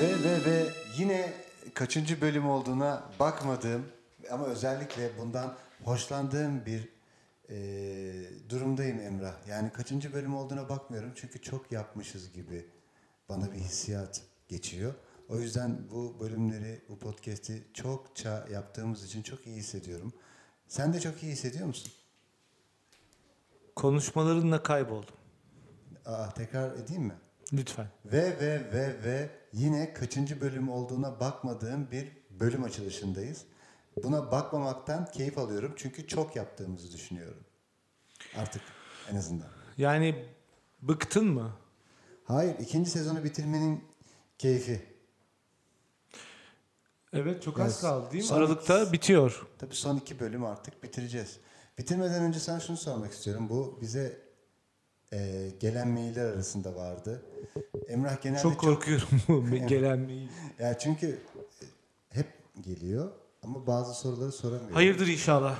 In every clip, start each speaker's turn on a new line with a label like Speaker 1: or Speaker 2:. Speaker 1: Ve ve ve yine kaçıncı bölüm olduğuna bakmadığım ama özellikle bundan hoşlandığım bir e, durumdayım Emrah. Yani kaçıncı bölüm olduğuna bakmıyorum çünkü çok yapmışız gibi bana bir hissiyat geçiyor. O yüzden bu bölümleri, bu podcast'i çokça yaptığımız için çok iyi hissediyorum. Sen de çok iyi hissediyor musun?
Speaker 2: Konuşmalarınla kayboldum.
Speaker 1: Aa, tekrar edeyim mi?
Speaker 2: Lütfen.
Speaker 1: Ve ve ve ve yine kaçıncı bölüm olduğuna bakmadığım bir bölüm açılışındayız. Buna bakmamaktan keyif alıyorum çünkü çok yaptığımızı düşünüyorum. Artık en azından.
Speaker 2: Yani bıktın mı?
Speaker 1: Hayır ikinci sezonu bitirmenin keyfi.
Speaker 2: Evet çok
Speaker 1: az kaldı değil mi?
Speaker 2: Aralıkta bitiyor.
Speaker 1: Tabii son iki bölüm artık bitireceğiz. Bitirmeden önce sana şunu sormak istiyorum. Bu bize eee, gelen mailler arasında vardı. Emrah genelde
Speaker 2: çok korkuyorum bu gelen mail.
Speaker 1: Ya çünkü e, hep geliyor ama bazı soruları soramıyor.
Speaker 2: Hayırdır inşallah.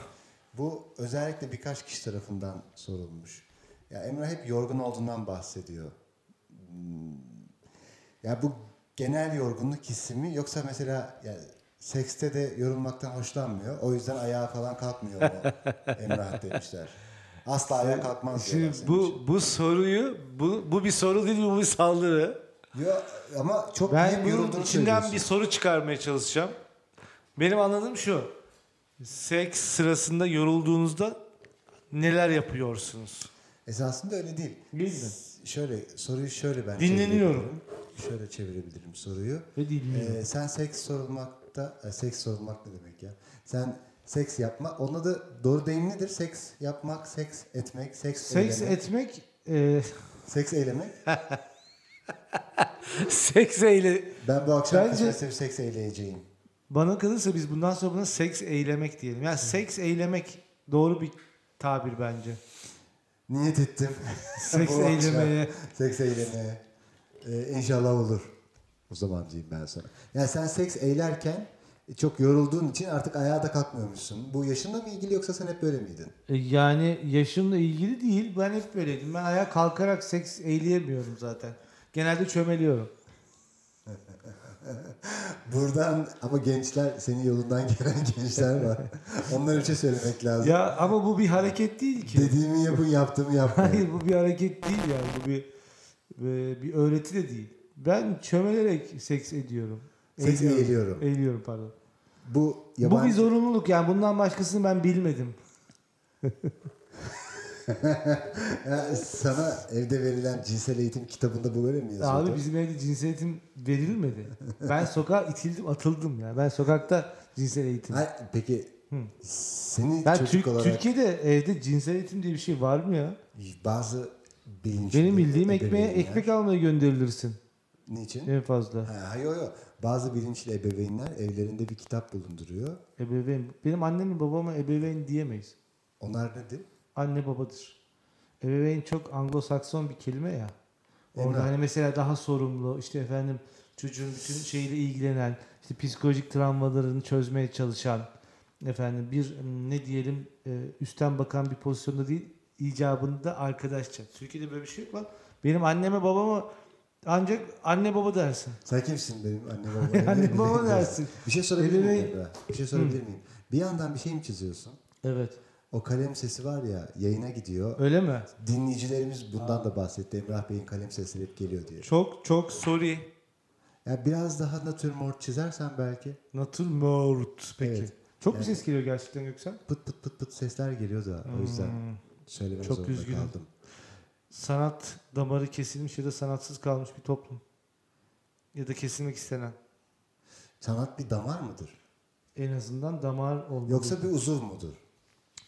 Speaker 1: Bu özellikle birkaç kişi tarafından sorulmuş. Ya Emrah hep yorgun olduğundan bahsediyor. Hmm. Ya bu genel yorgunluk hissi mi yoksa mesela ya sekste de yorulmaktan hoşlanmıyor. O yüzden ayağa falan kalkmıyor mu Emrah demişler. Asla ayağa kalkmaz diyorlar
Speaker 2: Şimdi
Speaker 1: senin için.
Speaker 2: bu bu soruyu bu, bu bir soru değil bu bir saldırı.
Speaker 1: Yo, ama çok
Speaker 2: Ben
Speaker 1: büyük
Speaker 2: bunun
Speaker 1: yorulduğunu
Speaker 2: içinden
Speaker 1: söylüyorsun.
Speaker 2: bir soru çıkarmaya çalışacağım. Benim anladığım şu. Seks sırasında yorulduğunuzda neler yapıyorsunuz?
Speaker 1: Esasında öyle değil.
Speaker 2: Değil mi?
Speaker 1: Şöyle soruyu şöyle ben
Speaker 2: Dinleniyorum.
Speaker 1: çevirebilirim. Şöyle çevirebilirim soruyu.
Speaker 2: Ve dinliyorum.
Speaker 1: Ee, sen seks sorulmakta, e, seks sorulmak ne demek ya? Sen seks yapma, onun adı doğru deyim nedir? Seks yapmak, seks etmek, seks,
Speaker 2: Ee,
Speaker 3: Seks
Speaker 1: eylemek.
Speaker 3: etmek e,
Speaker 1: Seks eylemek.
Speaker 2: Seks eyle
Speaker 1: Ben bu akşam
Speaker 3: Bence-
Speaker 1: Bence... seks eyleyeceğim.
Speaker 3: bana kalırsa biz bundan sonra buna seks eylemek diyelim. Yani seks eylemek doğru bir tabir bence.
Speaker 1: Niyet ettim.
Speaker 3: Seks
Speaker 1: Bu akşam
Speaker 3: eylemeye.
Speaker 1: Seks eylemeye. Ee, inşallah olur. O zaman diyeyim ben sana. Yani sen seks eylerken e, çok yorulduğun için artık ayağa da kalkmıyormuşsun. Bu yaşınla mı ilgili yoksa sen hep böyle miydin?
Speaker 3: E, Yani yaşımla ilgili değil. Ben hep böyleydim. Ben ayağa kalkarak seks eyleyemiyorum zaten. Genelde çömeliyorum.
Speaker 1: Buradan ama gençler senin yolundan gelen gençler var. Onlara bir şey söylemek lazım.
Speaker 3: Ya ama bu bir hareket değil ki.
Speaker 1: Dediğimi yapın yaptığımı yapmayın.
Speaker 3: Hayır bu bir hareket değil yani. Bu bir e, bir öğreti de değil. Ben çömelerek seks ediyorum.
Speaker 1: Seks
Speaker 3: Eğiliyorum.
Speaker 1: eğiliyorum.
Speaker 3: Eğiliyorum pardon.
Speaker 1: Bu
Speaker 3: Bu bir
Speaker 1: yabancı...
Speaker 3: zorunluluk yani bundan başkasını ben bilmedim.
Speaker 1: Ya sana evde verilen cinsel eğitim kitabında bu böyle mi yazıyordu?
Speaker 3: Abi bizim evde cinsel eğitim verilmedi. Ben sokağa itildim atıldım ya. Ben sokakta cinsel eğitim.
Speaker 1: Hayır, peki seni
Speaker 3: Ben
Speaker 1: çocuk
Speaker 3: Türk-
Speaker 1: olarak
Speaker 3: Türkiye'de evde cinsel eğitim diye bir şey var mı ya?
Speaker 1: bazı bilinçli...
Speaker 3: Benim bildiğim ekmeğe
Speaker 1: ebeveynler-
Speaker 3: ekmek almaya gönderilirsin
Speaker 1: Niçin?
Speaker 3: en fazla.
Speaker 1: Ha, hayır hayır. Bazı bilinçli ebeveynler evlerinde bir kitap bulunduruyor.
Speaker 3: Ebeveyn. Benim annemle babama ebeveyn diyemeyiz.
Speaker 1: Onlar nedir?
Speaker 3: Anne babadır. Ebeveyn çok Anglo-Sakson bir kelime ya. Orada
Speaker 1: Evet.
Speaker 3: hani mesela daha sorumlu işte efendim çocuğun bütün şeyiyle ilgilenen işte psikolojik travmalarını çözmeye çalışan efendim bir m, ne diyelim e, üstten bakan bir pozisyonda değil icabında arkadaşça. Türkiye'de böyle bir şey yok lan. Benim anneme babama ancak anne baba dersin.
Speaker 1: Sen kimsin benim anne babam?
Speaker 3: Anne baba dersin.
Speaker 1: Bir şey sorabilir miyim?
Speaker 3: Ebeveyn-
Speaker 1: Ebra? Bir şey sorabilir miyim? Bir yandan bir şey mi çiziyorsun?
Speaker 3: Evet.
Speaker 1: O kalem sesi var ya yayına gidiyor.
Speaker 3: Öyle mi?
Speaker 1: Dinleyicilerimiz bundan da bahsetti. Emrah Bey'in kalem sesleri hep geliyor diye.
Speaker 2: çok çok sorry.
Speaker 1: Ya biraz daha natürmort çizersen belki
Speaker 3: Natürmort peki.
Speaker 1: Evet.
Speaker 3: Çok bir ses geliyor gerçekten Göksel.
Speaker 1: pıt pıt pıt pıt sesler geliyor da o yüzden
Speaker 3: Hmm.
Speaker 1: söylemek
Speaker 3: Çok
Speaker 1: zorunda
Speaker 3: üzgünüm.
Speaker 1: kaldım.
Speaker 3: sanat damarı kesilmiş ya da sanatsız kalmış bir toplum. Ya da kesilmek istenen.
Speaker 1: Sanat bir damar mıdır?
Speaker 3: En azından damar olmalı.
Speaker 1: Yoksa bir uzuv mudur?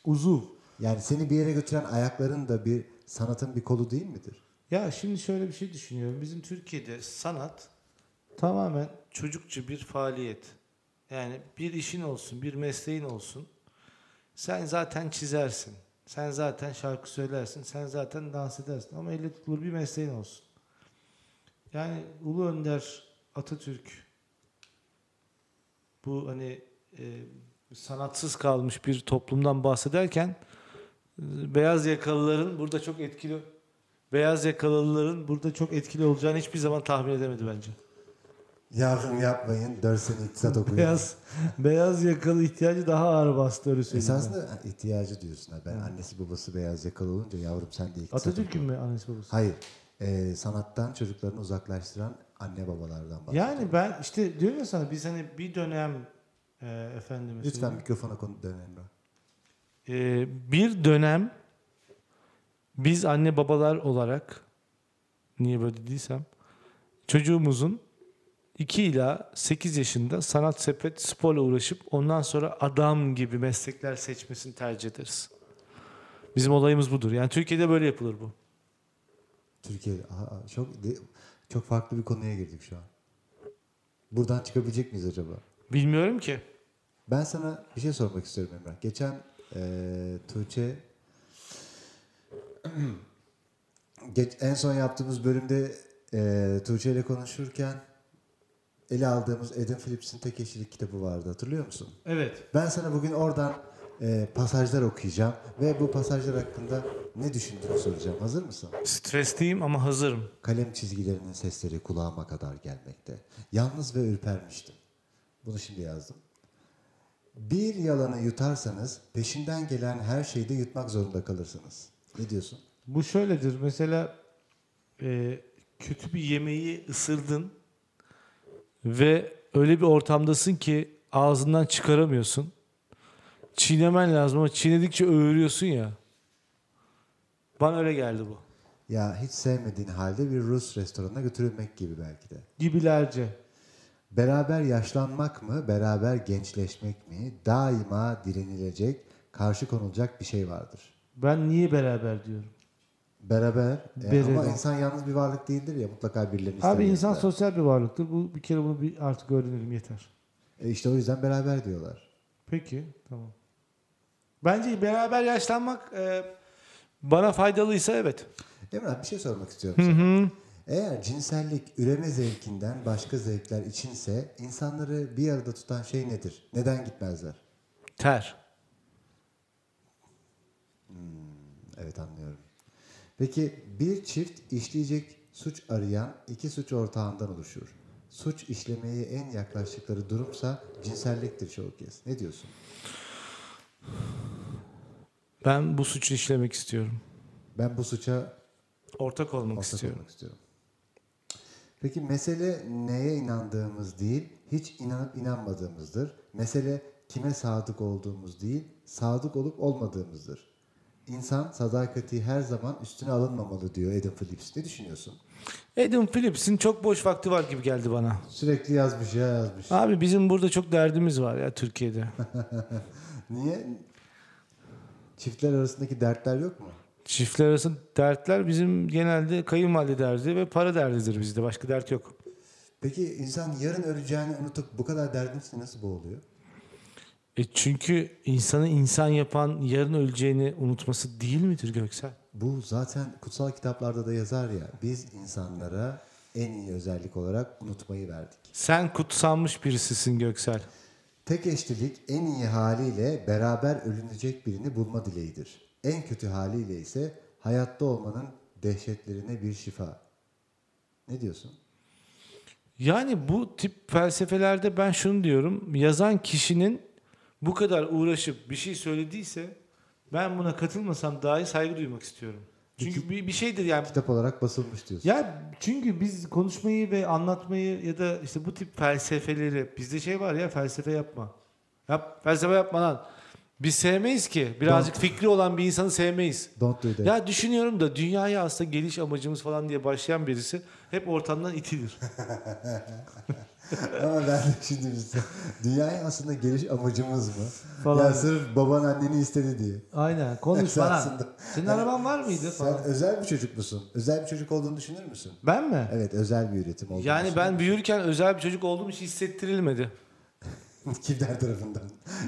Speaker 3: uzuv.
Speaker 1: Yani seni bir yere götüren ayakların da bir sanatın bir kolu değil midir?
Speaker 3: Ya şimdi şöyle bir şey düşünüyorum. Bizim Türkiye'de sanat tamamen
Speaker 2: çocukça bir faaliyet. Yani bir işin olsun, bir mesleğin olsun. Sen zaten çizersin. Sen zaten şarkı söylersin. Sen zaten dans edersin. Ama elle tutulur bir mesleğin olsun. Yani Ulu Önder Atatürk bu hani e, sanatsız kalmış bir toplumdan bahsederken e, beyaz yakalıların burada çok etkili beyaz yakalıların burada çok etkili olacağını hiçbir zaman tahmin edemedi bence.
Speaker 1: Yavrum yapmayın. 4 sene iktisat okuyun.
Speaker 4: Beyaz beyaz yakalı ihtiyacı daha ağır bastı öyle söyleyeyim. ben.
Speaker 1: Esasında ihtiyacı diyorsun. ha. Ben annesi babası beyaz yakalı olunca yavrum sen de iktisat
Speaker 4: Atatürk'ün
Speaker 1: oku.
Speaker 4: mü annesi babası?
Speaker 1: Hayır. Ee, sanattan çocuklarını uzaklaştıran anne babalardan bahsediyorum.
Speaker 4: Yani ben işte diyorum ya sana biz hani bir dönem e, efendim
Speaker 1: Lütfen mikrofona konu dön Emrah.
Speaker 3: Ee, bir dönem biz anne babalar olarak niye böyle dediysem çocuğumuzun 2 ila 8 yaşında sanat sepet sporla uğraşıp ondan sonra adam gibi meslekler seçmesini tercih ederiz. Bizim olayımız budur. Yani Türkiye'de böyle yapılır bu.
Speaker 1: Türkiye aha, çok de- çok farklı bir konuya girdik şu an. Buradan çıkabilecek miyiz acaba?
Speaker 3: Bilmiyorum ki.
Speaker 1: Ben sana bir şey sormak istiyorum Emrah. Geçen eee Tuğçe Geç, en son yaptığımız bölümde eee Tuğçe ile konuşurken ele aldığımız Adam Phillips'in tek eşlilik kitabı vardı hatırlıyor musun?
Speaker 4: Evet.
Speaker 1: Ben sana bugün oradan eee, pasajlar okuyacağım ve bu pasajlar hakkında ne düşündüğünü soracağım. Hazır mısın?
Speaker 3: Stresliyim ama hazırım.
Speaker 1: Kalem çizgilerinin sesleri kulağıma kadar gelmekte. Yalnız ve ürpermiştim. Bunu şimdi yazdım. Bir yalanı yutarsanız peşinden gelen her şeyi de yutmak zorunda kalırsınız. Ne diyorsun?
Speaker 4: Bu şöyledir. Mesela
Speaker 3: e, kötü bir yemeği ısırdın ve öyle bir ortamdasın ki ağzından çıkaramıyorsun. Çiğnemen lazım ama çiğnedikçe öğürüyorsun ya. Bana öyle geldi bu.
Speaker 1: Ya hiç sevmediğin halde bir Rus restoranına götürülmek gibi belki de.
Speaker 4: gibilerce.
Speaker 1: Beraber yaşlanmak mı, beraber gençleşmek mi daima direnilecek, karşı konulacak bir şey vardır.
Speaker 4: Ben niye beraber diyorum.
Speaker 1: Beraber, e, ama
Speaker 4: Beraber.
Speaker 1: insan yalnız bir varlık değildir ya mutlaka birilerini
Speaker 4: Abi
Speaker 1: ister
Speaker 4: insan
Speaker 1: yanında.
Speaker 4: sosyal bir varlıktır. Bu bir kere bunu bir artık öğrenelim yeter.
Speaker 1: E işte o yüzden beraber diyorlar.
Speaker 4: Peki tamam.
Speaker 3: Bence beraber yaşlanmak e, bana faydalıysa evet.
Speaker 1: Emrah bir şey sormak istiyorum sana. Eğer cinsellik üreme zevkinden başka zevkler içinse insanları bir arada tutan şey nedir? Neden gitmezler?
Speaker 3: Ter.
Speaker 1: Evet anlıyorum. Peki bir çift işleyecek suç arayan iki suç ortağından oluşur. Suç işlemeye en yaklaştıkları durumsa cinselliktir çoğu kez. Ne diyorsun?
Speaker 3: Ben bu suçu işlemek istiyorum.
Speaker 1: Ben bu suça
Speaker 3: Ortak olmak
Speaker 1: ortak
Speaker 3: istiyorum.
Speaker 1: olmak istiyorum. Peki mesele neye inandığımız değil, hiç inanıp inanmadığımızdır. Mesele kime sadık olduğumuz değil, sadık olup olmadığımızdır. İnsan sadakati her zaman üstüne alınmamalı diyor Adam Phillips. Ne düşünüyorsun?
Speaker 3: Adam Phillips'in çok boş vakti var gibi geldi bana.
Speaker 1: Sürekli yazmış ya yazmış.
Speaker 3: Abi bizim burada çok derdimiz var ya Türkiye'de.
Speaker 1: Niye? Çiftler arasındaki dertler yok mu?
Speaker 3: Çiftler arası dertler bizim genelde kayınvalide derdi ve para derdidir bizde. Başka dert yok.
Speaker 1: Peki insan yarın öleceğini unutup bu kadar derdin içinde nasıl boğuluyor?
Speaker 3: E çünkü insanı insan yapan yarın öleceğini unutması değil midir Göksel?
Speaker 1: Bu zaten kutsal kitaplarda da yazar ya. Biz insanlara en iyi özellik olarak unutmayı verdik.
Speaker 3: Sen kutsanmış birisisin Göksel.
Speaker 1: Tek eşlilik en iyi haliyle beraber ölünecek birini bulma dileğidir. En kötü haliyle ise hayatta olmanın dehşetlerine bir şifa. Ne diyorsun?
Speaker 3: Yani bu tip felsefelerde ben şunu diyorum. Yazan kişinin bu kadar uğraşıp bir şey söylediyse ben buna katılmasam dahi saygı duymak istiyorum. Çünkü bir, bir şeydir yani.
Speaker 1: Kitap olarak basılmış diyorsun.
Speaker 4: Ya çünkü biz konuşmayı ve anlatmayı ya da işte bu tip felsefeleri bizde şey var ya felsefe yapma.
Speaker 3: Yap, felsefe yapma lan. Biz sevmeyiz ki. Birazcık fikri olan bir insanı sevmeyiz.
Speaker 1: Don't do that.
Speaker 3: Ya düşünüyorum da dünyaya aslında geliş amacımız falan diye başlayan birisi hep ortamdan itilir.
Speaker 1: Ama ben de şimdi biz dünyaya aslında geliş amacımız mı?
Speaker 4: Falan.
Speaker 1: Ya sırf baban anneni istedi diye.
Speaker 4: Aynen konuş falan.
Speaker 1: Esasında.
Speaker 4: Senin araban var mıydı
Speaker 1: Sen
Speaker 4: falan.
Speaker 1: özel bir çocuk musun? Özel bir çocuk olduğunu düşünür müsün?
Speaker 4: Ben mi?
Speaker 1: Evet özel bir üretim olduğunu
Speaker 3: Yani ben büyürken özel bir çocuk olduğum hiç hissettirilmedi.
Speaker 1: Kimler tarafından?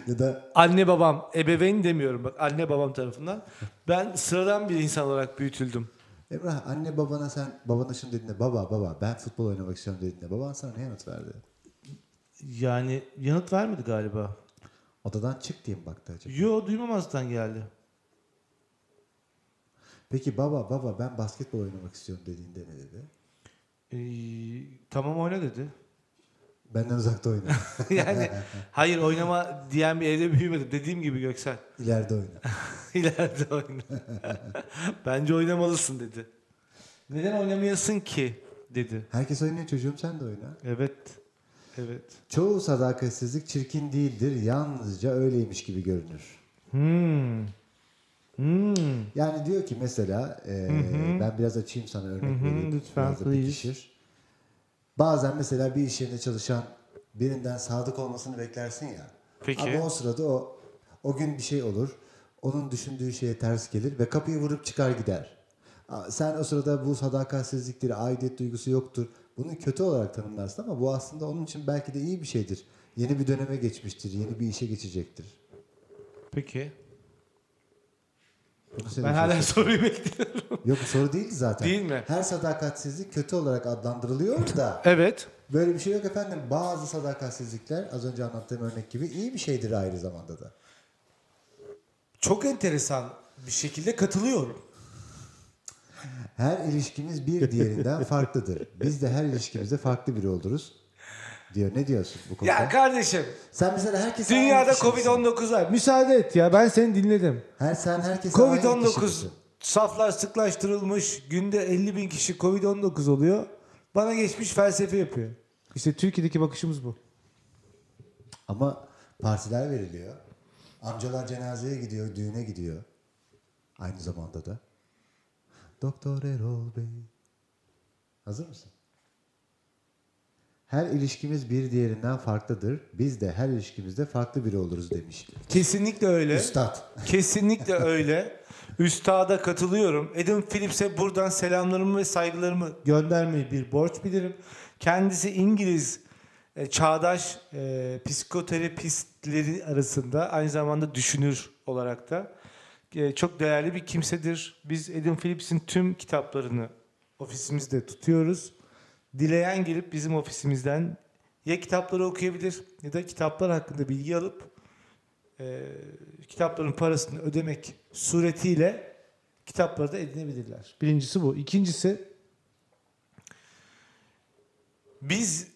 Speaker 1: ya da
Speaker 3: Anne babam, ebeveyn demiyorum bak anne babam tarafından. Ben sıradan bir insan olarak büyütüldüm.
Speaker 1: Emrah anne babana sen babana şunu dediğinde baba baba ben futbol oynamak istiyorum dediğinde baban sana ne yanıt verdi?
Speaker 4: Yani yanıt vermedi galiba.
Speaker 1: Odadan çık diye mi baktı acaba?
Speaker 4: Yo duymamazdan geldi.
Speaker 1: Peki baba baba ben basketbol oynamak istiyorum dediğinde ne dedi?
Speaker 4: Ee, tamam oyna dedi.
Speaker 1: Benden uzakta oyna.
Speaker 2: yani hayır oynama diyen bir evde büyümedim. Dediğim gibi Göksel.
Speaker 1: İleride oyna.
Speaker 2: İleride oyna. Bence oynamalısın dedi. Neden oynamayasın ki dedi.
Speaker 1: Herkes oynuyor çocuğum sen de oyna.
Speaker 2: Evet. Evet.
Speaker 1: Çoğu sadakatsizlik çirkin değildir. Yalnızca öyleymiş gibi görünür.
Speaker 5: Hmm. Hmm.
Speaker 1: Yani diyor ki mesela e,
Speaker 5: hı.
Speaker 1: ben biraz açayım sana örnek
Speaker 5: Hı hı,
Speaker 1: vereyim.
Speaker 5: lütfen,
Speaker 1: Biraz da
Speaker 5: please.
Speaker 1: pekişir. Bazen mesela bir iş yerinde çalışan birinden sadık olmasını beklersin ya.
Speaker 2: Peki.
Speaker 1: Ama o sırada o o gün bir şey olur. Onun düşündüğü şeye ters gelir ve kapıyı vurup çıkar gider. Aa, Sen o sırada bu sadakatsizliktir, aidiyet duygusu yoktur. Bunu kötü olarak tanımlarsın ama bu aslında onun için belki de iyi bir şeydir. Yeni bir döneme geçmiştir, yeni bir işe geçecektir.
Speaker 2: Peki.
Speaker 1: Bunu senin
Speaker 2: Ben hala
Speaker 1: için-
Speaker 2: soruyu bekliyorum.
Speaker 1: Yok bu soru değildi zaten.
Speaker 2: Değil mi?
Speaker 1: Her sadakatsizlik kötü olarak adlandırılıyor da
Speaker 2: Evet.
Speaker 1: böyle bir şey yok efendim. Bazı sadakatsizlikler az önce anlattığım örnek gibi iyi bir şeydir ayrı zamanda da.
Speaker 3: Çok enteresan bir şekilde katılıyorum.
Speaker 1: Her ilişkimiz bir diğerinden farklıdır. Biz de her ilişkimizde farklı biri oluruz. Diyor. Ne diyorsun bu konuda?
Speaker 3: Ya kardeşim
Speaker 1: sen mesela herkes
Speaker 3: dünyada Covid-19 var.
Speaker 5: şey Müsaade et ya ben seni dinledim.
Speaker 1: Her sen herkes
Speaker 3: Covid-19 şey saflar sıklaştırılmış. Günde 50 bin kişi Covid-19 oluyor. Bana geçmiş felsefe yapıyor.
Speaker 5: İşte Türkiye'deki bakışımız bu.
Speaker 1: Ama partiler veriliyor. Amcalar cenazeye gidiyor, düğüne gidiyor. Aynı zamanda da. Doktor Erol Bey. Hazır mısın? Her ilişkimiz bir diğerinden farklıdır. Biz de her ilişkimizde farklı biri oluruz demiş.
Speaker 3: Kesinlikle öyle.
Speaker 1: Üstad.
Speaker 3: Kesinlikle öyle. Üstada katılıyorum. Adam Phillips'e buradan selamlarımı ve saygılarımı göndermeyi bir borç bilirim. Kendisi İngiliz e, çağdaş e, psikoterapistleri arasında aynı zamanda düşünür olarak da e, çok değerli bir kimsedir. Biz Adam Phillips'in tüm kitaplarını ofisimizde tutuyoruz. Dileyen gelip bizim ofisimizden ya kitapları okuyabilir ya da kitaplar hakkında bilgi alıp e, kitapların parasını ödemek suretiyle kitapları da edinebilirler.
Speaker 5: Birincisi bu. İkincisi
Speaker 3: Biz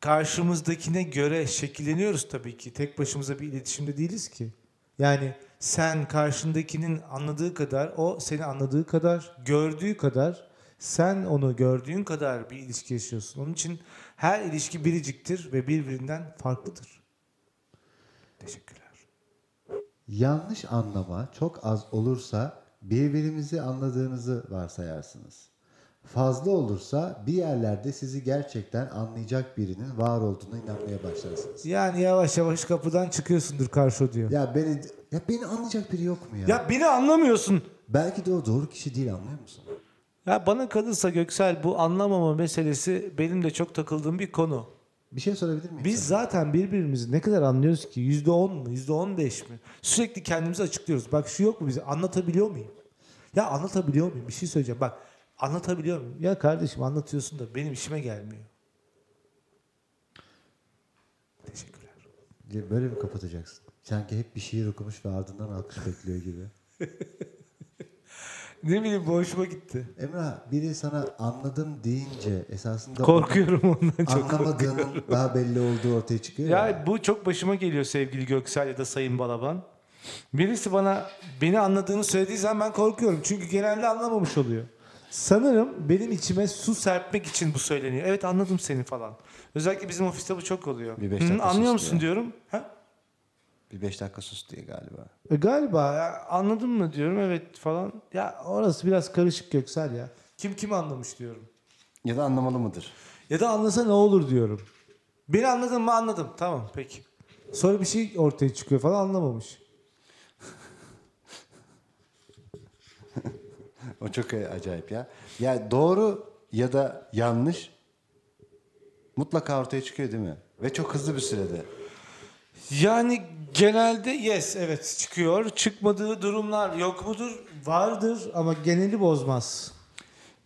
Speaker 3: karşımızdakine göre şekilleniyoruz tabii ki. Tek başımıza bir iletişimde değiliz ki. Yani sen karşındakinin anladığı kadar, o seni anladığı kadar, gördüğü kadar, sen onu gördüğün kadar bir ilişki yaşıyorsun. Onun için her ilişki biriciktir ve birbirinden farklıdır. Teşekkürler.
Speaker 1: Yanlış anlama çok az olursa birbirimizi anladığınızı varsayarsınız. Fazla olursa bir yerlerde sizi gerçekten anlayacak birinin var olduğuna inanmaya başlarsınız.
Speaker 3: Yani yavaş yavaş kapıdan çıkıyorsundur karşı odaya.
Speaker 1: Ya beni ya beni anlayacak biri yok mu ya?
Speaker 3: Ya beni anlamıyorsun.
Speaker 1: Belki de o doğru kişi değil anlıyor musun?
Speaker 2: Ya bana kalırsa Göksel bu anlamama meselesi benim de çok takıldığım bir konu.
Speaker 1: Bir şey sorabilir miyim?
Speaker 3: Biz
Speaker 1: sana?
Speaker 3: zaten birbirimizi ne kadar anlıyoruz ki? Yüzde on mu? Yüzde on beş mi? Sürekli kendimizi açıklıyoruz. Bak şu yok mu bize? Anlatabiliyor muyum? Ya anlatabiliyor muyum? Bir şey söyleyeceğim. Bak anlatabiliyor muyum? Ya kardeşim anlatıyorsun da benim işime gelmiyor. Teşekkürler.
Speaker 1: Ya böyle mi kapatacaksın? Sanki hep bir şiir okumuş ve ardından alkış bekliyor gibi.
Speaker 3: Ne bileyim bu hoşuma gitti.
Speaker 1: Emrah biri sana anladım deyince esasında
Speaker 2: Korkuyorum ondan çok.
Speaker 1: anlamadığının daha belli olduğu ortaya çıkıyor.
Speaker 2: Ya bu çok başıma geliyor sevgili Göksel ya da Sayın Balaban.
Speaker 3: Birisi bana beni anladığını söylediği zaman ben korkuyorum. Çünkü genelde anlamamış oluyor. Sanırım benim içime su serpmek için bu söyleniyor. Evet anladım seni falan. Özellikle bizim ofiste bu çok oluyor.
Speaker 6: Bir beş
Speaker 3: Hı,
Speaker 6: dakika
Speaker 3: anlıyor
Speaker 6: sus
Speaker 3: musun
Speaker 6: diyor.
Speaker 3: diyorum. Ha?
Speaker 6: Bir 5 dakika sus diye galiba.
Speaker 3: E, galiba ya, anladın mı diyorum evet falan. Ya orası biraz karışık Göksel ya. Kim kim anlamış diyorum.
Speaker 6: Ya da anlamalı mıdır?
Speaker 3: Ya da anlasa ne olur diyorum. Beni anladın mı anladım. Tamam peki. Sonra bir şey ortaya çıkıyor falan anlamamış.
Speaker 6: O çok e, acayip ya. Ya doğru ya da yanlış mutlaka ortaya çıkıyor değil mi? Ve çok hızlı bir sürede.
Speaker 3: Yani genelde yes evet çıkıyor. Çıkmadığı durumlar yok mudur?
Speaker 5: vardır ama geneli bozmaz.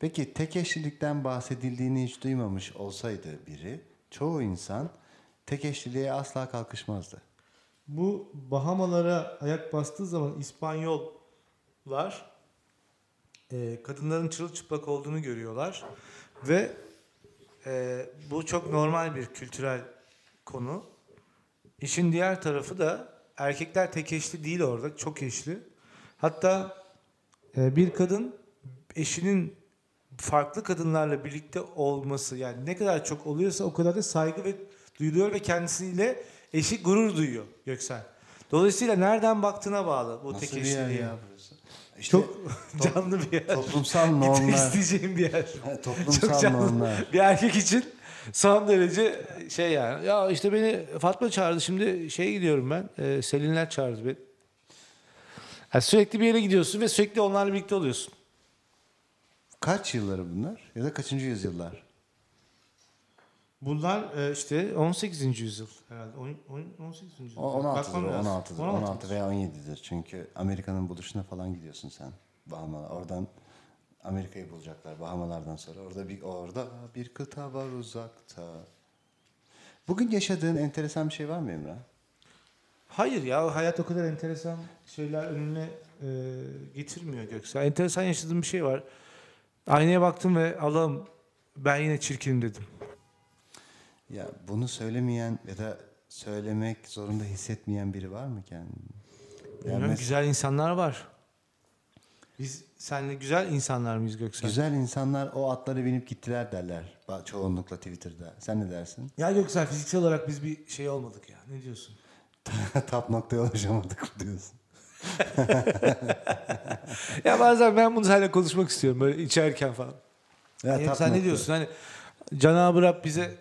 Speaker 6: Peki tek eşlilikten bahsedildiğini hiç duymamış olsaydı biri, çoğu insan tek eşliliğe asla kalkışmazdı.
Speaker 5: Bu Bahamalara ayak bastığı zaman İspanyol
Speaker 3: var. Ee, kadınların çırılçıplak olduğunu görüyorlar. Ve e, bu çok normal bir kültürel
Speaker 7: konu. İşin diğer tarafı da erkekler tek eşli değil orada. Çok eşli. Hatta e, bir kadın eşinin farklı kadınlarla birlikte olması yani ne kadar çok oluyorsa o kadar da saygı ve duyuluyor ve kendisiyle eşi gurur duyuyor Göksel. Dolayısıyla nereden baktığına bağlı bu tek
Speaker 1: Nasıl bir yer
Speaker 7: eşliliğe.
Speaker 1: ya burası? İşte
Speaker 7: Çok canlı bir yer.
Speaker 1: toplumsal
Speaker 7: Gitmek
Speaker 1: normlar.
Speaker 7: isteyeceğim bir yer. Çok
Speaker 1: toplumsal
Speaker 7: canlı.
Speaker 1: normlar.
Speaker 7: Bir erkek için son derece
Speaker 3: Şey yani ya işte beni Fatma çağırdı şimdi şey gidiyorum ben. E, Selinler çağırdı beni. Yani sürekli bir yere gidiyorsun ve sürekli onlarla birlikte oluyorsun.
Speaker 1: Kaç yılları bunlar? Ya da kaçıncı yüzyıllar?
Speaker 3: Bunlar e, işte 18. yüzyıl.
Speaker 8: Herhalde oyun, oyun 18. yüzyıl.
Speaker 1: O- 16'dır,
Speaker 8: Bakmam lazım. 16.
Speaker 1: 16'dır, 16 veya 17'dir. Çünkü Amerika'nın buluşuna falan gidiyorsun sen. Bahama, oradan Amerika'yı bulacaklar Bahamalardan sonra. Orada bir orada bir kıta var uzakta. Bugün yaşadığın enteresan bir şey var mı Emrah?
Speaker 3: Hayır ya hayat
Speaker 8: Hayat o kadar enteresan
Speaker 3: şeyler önüne e, getirmiyor Göksel. Enteresan yaşadığım bir şey var. Aynaya baktım ve Allah'ım ben yine çirkinim dedim.
Speaker 1: Ya bunu söylemeyen ya da söylemek zorunda hissetmeyen biri var mı kendini? Yani
Speaker 3: Bilmiyorum,
Speaker 1: mes-
Speaker 3: güzel insanlar var. Biz senle güzel insanlar mıyız Göksel?
Speaker 1: güzel insanlar o atlara binip gittiler derler ba- çoğunlukla Twitter'da. Sen ne dersin?
Speaker 3: Ya Göksel fiziksel olarak biz bir şey olmadık ya. Ne diyorsun?
Speaker 1: Tap noktaya ulaşamadık mı diyorsun?
Speaker 3: ya bazen ben bunu seninle konuşmak istiyorum böyle içerken falan.
Speaker 1: Ya,
Speaker 3: Ya
Speaker 1: tap
Speaker 3: sen ne
Speaker 1: nokta.
Speaker 3: diyorsun hani Cenab-ı Rab bize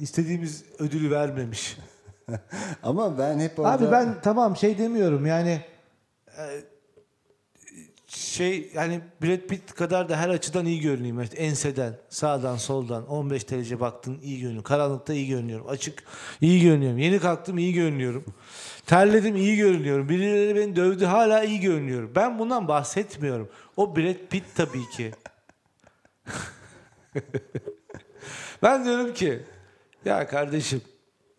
Speaker 3: istediğimiz ödülü vermemiş.
Speaker 1: Ama ben hep orada...
Speaker 8: Abi ben tamam şey demiyorum yani
Speaker 3: e, şey yani Brad Pitt kadar da her açıdan iyi görüneyim. İşte enseden, sağdan, soldan 15 derece baktın iyi görünüyorum. Karanlıkta iyi görünüyorum. Açık iyi görünüyorum. Yeni kalktım iyi görünüyorum. Terledim iyi görünüyorum. Birileri beni dövdü hala iyi görünüyorum. Ben bundan bahsetmiyorum. O Brad Pitt tabii ki. ben diyorum ki ya kardeşim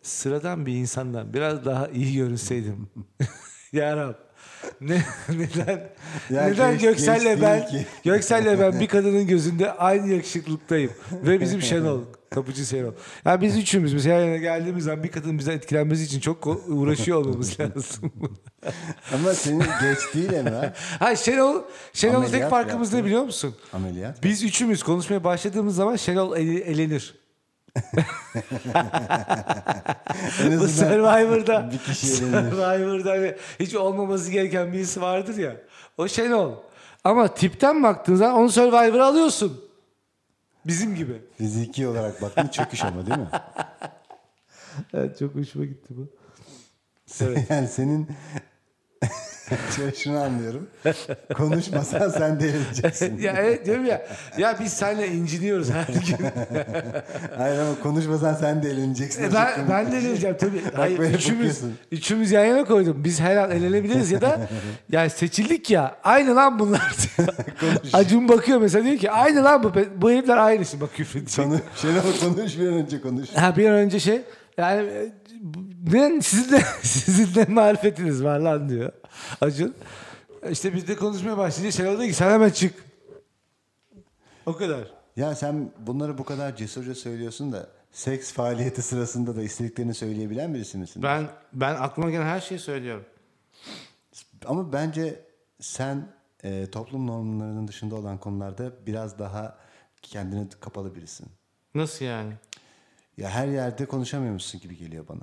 Speaker 3: sıradan bir insandan biraz daha iyi görünseydim. ya Rab. Ne, neden
Speaker 1: Ya
Speaker 3: neden
Speaker 1: genç- genç
Speaker 3: Göksel'le ben
Speaker 1: değil ki.
Speaker 3: Göksel'le ben bir kadının gözünde aynı yakışıklıktayım ve bizim Şenol kapıcı Şenol. Yani biz üçümüz mesela yan yana geldiğimiz zaman bir kadın bizden etkilenmesi için çok ko- uğraşıyor olmamız lazım.
Speaker 1: Ama senin geç değil Emrah.
Speaker 3: ha Şenol Şenol'un tek
Speaker 1: Ameliyat
Speaker 3: farkımız ne
Speaker 1: yaptı.
Speaker 3: biliyor musun?
Speaker 1: Ameliyat.
Speaker 3: Biz üçümüz konuşmaya başladığımız zaman Şenol ele- elenir.
Speaker 1: En
Speaker 3: Bu
Speaker 1: azından
Speaker 3: Survivor'da
Speaker 1: bir kişi elenir.
Speaker 3: Survivor'da hani hiç olmaması gereken birisi vardır ya. O Şenol. Ama tipten baktığın zaman onu Survivor'a alıyorsun. Bizim gibi.
Speaker 1: Fiziki olarak baktın çöküş ama değil mi?
Speaker 8: Evet, çok hoşuma gitti bu.
Speaker 1: Yani senin şunu anlıyorum. Konuşmasan sen delireceksin.
Speaker 3: E, ya evet diyorum ya. Ya biz seninle inciniyoruz her gün.
Speaker 1: Hayır ama konuşmasan sen delineceksin.
Speaker 3: E ben, ben de diyeceğim tabii. Hayır,
Speaker 1: böyle
Speaker 3: üçümüz,
Speaker 1: bakıyorsun.
Speaker 3: üçümüz yan yana koydum. Biz her an elenebiliriz ya da yani seçildik ya. Aynı lan bunlar diyor. Acun bakıyor mesela diyor ki aynı lan bu. pe- Bu herifler aynı. Şimdi bak küfür edecek.
Speaker 1: Konu, Şenol konuş bir an önce konuş.
Speaker 3: Ha bir an önce şey yani e, bu- ne, sizin de, sizin de marifetiniz var lan diyor Acun. İşte biz de konuşmaya başlayınca şey oldu ki sen hemen çık. O kadar.
Speaker 1: Ya sen bunları bu kadar cesurca söylüyorsun da seks faaliyeti sırasında da istediklerini söyleyebilen birisi misin?
Speaker 3: Ben ben aklıma gelen her şeyi söylüyorum.
Speaker 1: Ama bence sen e, toplum normlarının dışında olan konularda biraz daha kendine kapalı birisin.
Speaker 3: Nasıl yani?
Speaker 1: Ya her yerde konuşamıyormuşsun gibi geliyor bana.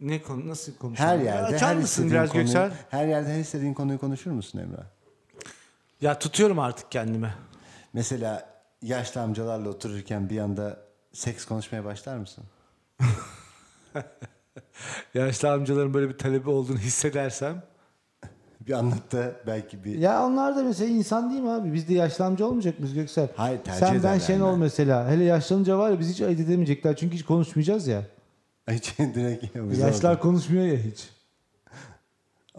Speaker 3: Ne konu nasıl konuşuyorsun?
Speaker 1: Her yerde
Speaker 3: Açar
Speaker 1: her
Speaker 3: mısın
Speaker 1: istediğin
Speaker 3: biraz
Speaker 1: konuyu,
Speaker 3: Göksel?
Speaker 1: Her yerde her istediğin konuyu konuşur musun Emrah?
Speaker 3: Ya tutuyorum artık kendimi.
Speaker 1: Mesela yaşlı amcalarla otururken bir anda seks konuşmaya başlar mısın?
Speaker 3: Yaşlı amcaların böyle bir talebi olduğunu hissedersem.
Speaker 1: Bir anlat da belki bir
Speaker 8: Ya onlar da mesela insan değil mi abi? Biz de yaşlanınca olmayacak mıyız Göksel?
Speaker 1: Hayır, tercih
Speaker 8: Sen ben
Speaker 1: ederler
Speaker 8: Şenol
Speaker 1: yani.
Speaker 8: mesela. Hele yaşlanınca var ya biz hiç ayırt edemeyecekler. Çünkü hiç konuşmayacağız ya.
Speaker 1: Ay, şey, direkt bize
Speaker 8: Yaşlar
Speaker 1: oldu.
Speaker 8: konuşmuyor ya hiç.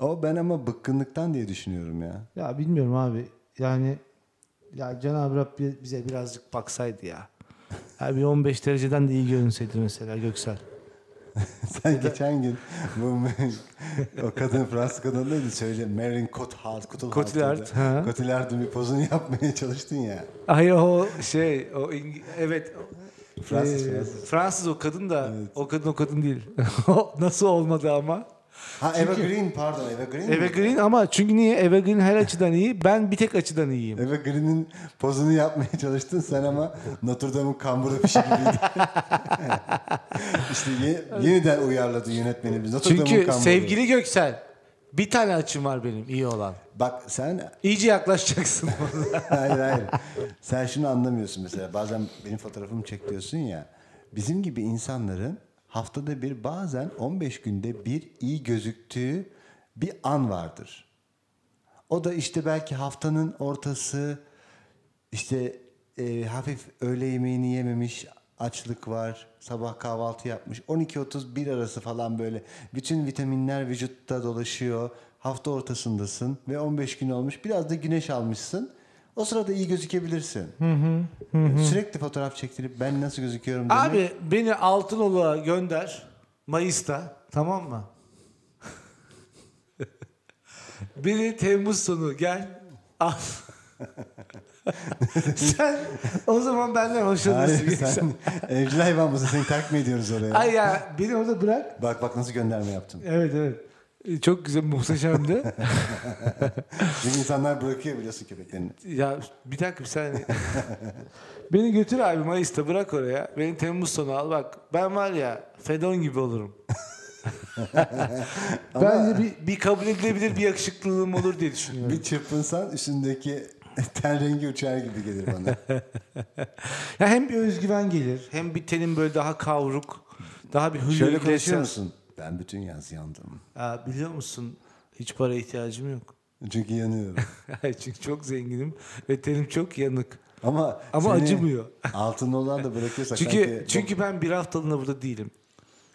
Speaker 1: O ben ama bıkkınlıktan diye düşünüyorum ya.
Speaker 8: Ya bilmiyorum abi. Yani ya Cenab-ı Rab bi- bize biraz
Speaker 3: Birazcık baksaydı ya. Abi 15 dereceden de iyi görünseydi mesela Göksel.
Speaker 1: Ben geçen gün bu o kadın Fransız kadın neydi söyle Marin Cotillard
Speaker 3: Cotillard, ha.
Speaker 1: Cotillard'ın bir pozunu yapmaya çalıştın ya.
Speaker 3: Hayır o şey o İng- evet o-
Speaker 1: Fransız,
Speaker 3: Ee,
Speaker 1: Fransız.
Speaker 3: Fransız o kadın da o kadın o kadın değil. O Nasıl olmadı ama?
Speaker 1: Ha Eva Green pardon Eva Green. mi?
Speaker 3: Eve Green ama çünkü niye? Eve Green her açıdan iyi. Ben bir tek açıdan iyiyim.
Speaker 1: Eva Green'in pozunu yapmaya çalıştın sen ama Notre Dame'ın kamburu fişi gibiydi. işte ye- yeniden uyarladı yönetmenimiz Notre Dame'ın
Speaker 3: Çünkü
Speaker 1: kamburu.
Speaker 3: sevgili Göksel bir tane açım var benim iyi olan.
Speaker 1: Bak sen
Speaker 3: İyice yaklaşacaksın.
Speaker 1: hayır hayır. Sen şunu anlamıyorsun mesela. Bazen benim fotoğrafımı çek diyorsun ya. Bizim gibi insanların haftada bir bazen 15 günde bir iyi gözüktüğü bir an vardır. O da işte belki haftanın ortası işte e, hafif öğle yemeğini yememiş açlık var. Sabah kahvaltı yapmış. 12-31 arası falan böyle bütün vitaminler vücutta dolaşıyor. Hafta ortasındasın ve 15 gün olmuş. Biraz da güneş almışsın. O sırada iyi gözükebilirsin. Sürekli fotoğraf çektirip ben nasıl gözüküyorum demek.
Speaker 3: Abi beni Altınoluk'a gönder Mayıs'ta tamam mı? beni Temmuz sonu gel al. sen o zaman benden hoşlanırsın.
Speaker 1: Hayır sen evcil hayvan mısın? Seni takip mi ediyoruz oraya?
Speaker 3: Ay ya beni orada bırak.
Speaker 1: Bak bak nasıl gönderme yaptın.
Speaker 3: Evet evet. E, Çok güzel muhteşemdi.
Speaker 1: Şimdi insanlar bırakıyor biliyorsun köpeklerini.
Speaker 3: ya bir dakika bir saniye. beni götür abi Mayıs'ta bırak oraya. Beni Temmuz sonu al bak. Ben var ya Fedon gibi olurum. Bence bir, bir kabul edilebilir bir yakışıklılığım olur diye düşünüyorum.
Speaker 1: Bir çırpınsan üstündeki ten rengi uçar gibi gelir bana.
Speaker 3: Ya hem bir özgüven gelir hem bir tenin böyle daha kavruk daha bir hülya
Speaker 1: Şöyle
Speaker 3: Iglesias.
Speaker 1: konuşuyor musun? Ben bütün yaz yandım.
Speaker 3: Aa, biliyor musun hiç para ihtiyacım yok.
Speaker 1: Çünkü yanıyorum.
Speaker 3: Çünkü çok zenginim ve tenim çok yanık.
Speaker 1: Ama
Speaker 3: Ama
Speaker 1: seni
Speaker 3: acımıyor.
Speaker 1: Altın olan da bırakıyorsak
Speaker 3: Çünkü
Speaker 1: sanki-
Speaker 3: çünkü ben bir haftalığına burada değilim.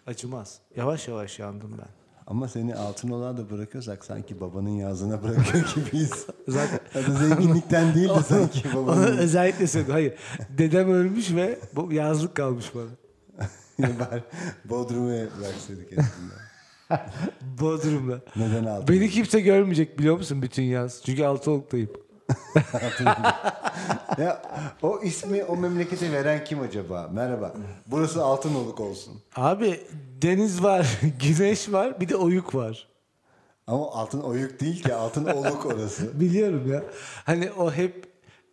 Speaker 3: Acımaz. Yavaş yavaş yandım ben.
Speaker 1: ama seni altın olan da bırakıyorsak sanki babanın yazına bırakıyor gibiyiz.
Speaker 3: Zaten
Speaker 1: Ya da zenginlikten değil de sanki
Speaker 3: onu
Speaker 1: babanın.
Speaker 3: özellikle söyledim. Hayır. Dedem ölmüş ve bu yazlık kalmış bana.
Speaker 1: Bari Bodrum'a bıraksaydık aslında.
Speaker 3: Bodrum'da.
Speaker 1: Neden altın?
Speaker 3: Beni kimse görmeyecek biliyor musun bütün yaz? Çünkü Altınoluk'tayım.
Speaker 1: Ya o ismi o memlekete veren kim acaba? Merhaba. Burası Altınoluk olsun.
Speaker 3: Abi deniz var, güneş var, bir de oyuk var.
Speaker 1: Ama altın oyuk değil ki altın oluk orası.
Speaker 3: Biliyorum ya. Hani o hep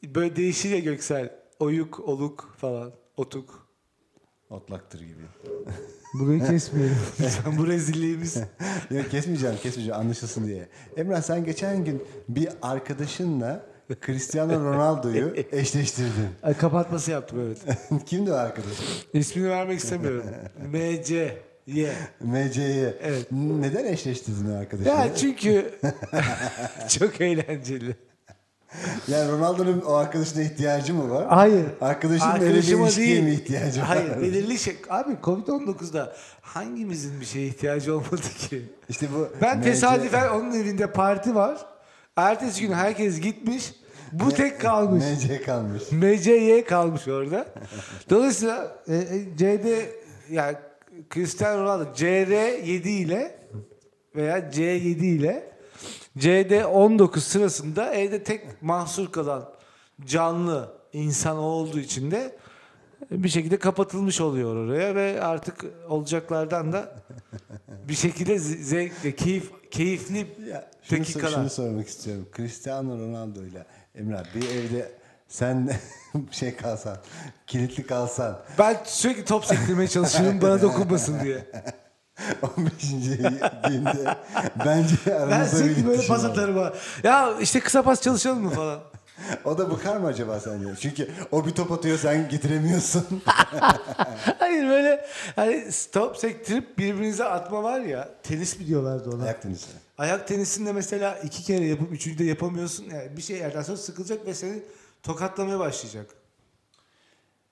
Speaker 3: böyle değişir ya Göksel. Oyuk, oluk falan, otuk.
Speaker 1: Otlaktır gibi.
Speaker 5: Burayı kesmeyelim.
Speaker 3: Sen bu rezilliğimiz.
Speaker 1: Yok kesmeyeceğim kesmeyeceğim anlaşılsın diye. Emrah sen geçen gün bir arkadaşınla Cristiano Ronaldo'yu eşleştirdin.
Speaker 3: Ay, Kapatması yaptım evet.
Speaker 1: Kimdi o arkadaşın?
Speaker 3: İsmini vermek istemiyorum. MC. Y.
Speaker 1: MC'yi.
Speaker 3: Evet.
Speaker 1: Neden eşleştirdin o arkadaşını?
Speaker 3: Ya çünkü çok eğlenceli.
Speaker 1: Yani Ronaldo'nun o arkadaşına ihtiyacı mı var?
Speaker 5: Hayır.
Speaker 1: Arkadaşın böyle bir
Speaker 3: Arkadaşıma
Speaker 1: ilişkiye mi
Speaker 3: değil.
Speaker 1: ihtiyacı var?
Speaker 3: Hayır belirli şey. Abi Covid-19'da hangimizin bir şeye ihtiyacı olmadı ki?
Speaker 1: İşte bu
Speaker 3: Ben
Speaker 1: MC
Speaker 3: tesadüfen onun evinde parti var. Ertesi gün herkes gitmiş. Bu tek kalmış.
Speaker 1: MC kalmış.
Speaker 3: MCY kalmış orada. Dolayısıyla e, e, C'de yani Cristiano Ronaldo CR7 ile veya C7 ile CD19 sırasında evde tek mahsur kalan canlı insan o olduğu için de bir şekilde kapatılmış oluyor oraya ve artık olacaklardan da bir şekilde z- zevkle, keyif, keyifli
Speaker 1: Ya, şunu, sor-
Speaker 3: dakikalar.
Speaker 1: şunu sormak istiyorum. Cristiano Ronaldo ile Emrah bir evde sen şey kalsan, kilitli kalsan
Speaker 3: Ben sürekli top sektirmeye çalışıyorum bana dokunmasın diye.
Speaker 1: 15. günde bence
Speaker 3: Ben
Speaker 1: aramızda bir
Speaker 3: sürekli böyle
Speaker 1: iletişim
Speaker 3: pas
Speaker 1: var.
Speaker 3: atarım ha. Ya işte kısa pas çalışalım mı falan.
Speaker 1: O da bıkar mı acaba sence? Çünkü o bir top atıyor sen getiremiyorsun.
Speaker 3: Hayır böyle hani stop sektirip birbirinize atma var ya. Tenis mi diyorlardı ona?
Speaker 1: Ayak tenisi.
Speaker 3: Ayak tenisinde mesela iki kere yapıp üçüncü de yapamıyorsun. Yani bir şey yerden sonra sıkılacak ve seni tokatlamaya başlayacak.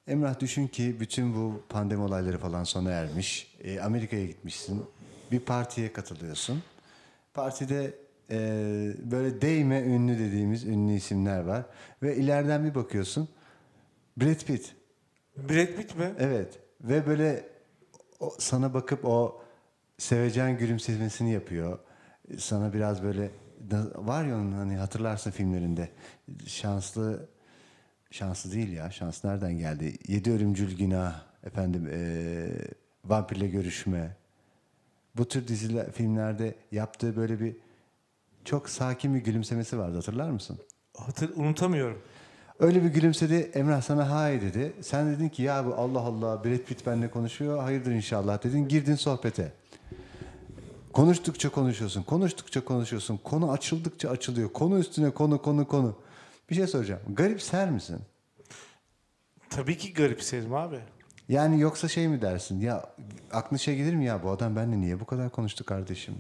Speaker 1: Emrah düşün ki bütün bu pandemi olayları falan sona ermiş. E, Amerika'ya gitmişsin. Bir partiye katılıyorsun. Partide e, böyle değme ünlü dediğimiz ünlü isimler var. Ve ileriden bir bakıyorsun. Brad Pitt.
Speaker 3: Brad Pitt mi?
Speaker 1: Evet. Ve böyle o, sana bakıp o sevecen gülümsemesini yapıyor. Sana biraz böyle da- var ya onun hani hatırlarsın filmlerinde şanslı şanslı değil ya şans nereden geldi? Yedi ölümcül günah efendim eee, vampirle görüşme. Bu tür diziler filmlerde yaptığı böyle bir çok sakin bir gülümsemesi vardı hatırlar mısın?
Speaker 3: Hatır, unutamıyorum.
Speaker 1: Öyle bir gülümsedi. Emrah sana hay dedi. Sen dedin ki ya bu Allah Allah Brad Pitt benimle konuşuyor. Hayırdır inşallah dedin. Girdin sohbete. Konuştukça konuşuyorsun. Konuştukça konuşuyorsun. Konu açıldıkça açılıyor. Konu üstüne konu konu konu. Bir şey soracağım. Garipser misin?
Speaker 3: Tabii ki garipserim abi.
Speaker 1: Yani yoksa şey mi dersin? Ya aklına şey gelir mi ya bu adam benimle niye bu kadar konuştu kardeşim?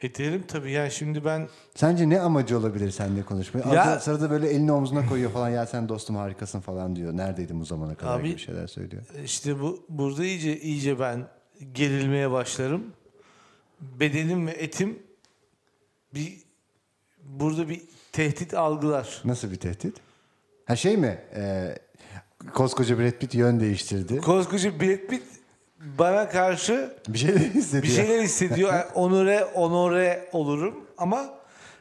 Speaker 3: E derim tabii yani şimdi ben
Speaker 1: Sence ne amacı olabilir seninle konuşmaya?
Speaker 3: Ya-
Speaker 1: Arada sırada böyle elini omzuna koyuyor falan. Ya sen dostum harikasın falan diyor. Neredeydin bu zamana kadar
Speaker 3: Abi-
Speaker 1: gibi şeyler söylüyor.
Speaker 3: İşte bu burada iyice iyice ben gerilmeye başlarım. Bedenim ve etim bir burada bir tehdit algılar.
Speaker 1: Nasıl bir tehdit? Ha şey mi? Ee, koskoca Brad Pitt yön değiştirdi.
Speaker 3: Koskoca Brad Pitt bana karşı
Speaker 1: Bir şey şeyler hissediyor.
Speaker 3: bir şeyler hissediyor. Yani onore onore olurum ama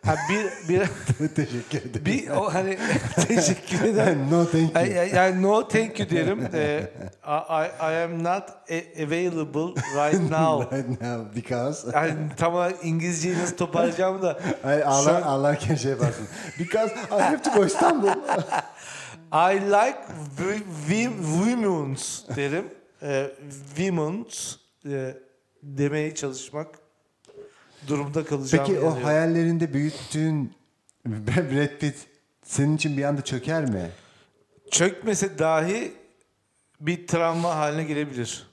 Speaker 3: ha bir bir
Speaker 1: Teşekkür ederim.
Speaker 3: bir o hani teşekkür ederim.
Speaker 1: no thank you.
Speaker 3: Ay- ay- Yani no thank you derim. Ee, I, I- I am not a- available right now.
Speaker 1: Right now, because...
Speaker 3: Yani tam olarak İngilizceyi nasıl toparlayacağımı da
Speaker 1: Ay, ağlar, ağlarken şey yaparsın. Because I have to go İstanbul.
Speaker 3: I like wi- wi- women's derim. Ee, women's e, demeye çalışmak durumda kalacağım.
Speaker 1: Peki o hayallerinde büyüttüğün Brad Pitt senin için bir anda çöker mi?
Speaker 3: Çökmese dahi bir travma haline gelebilir.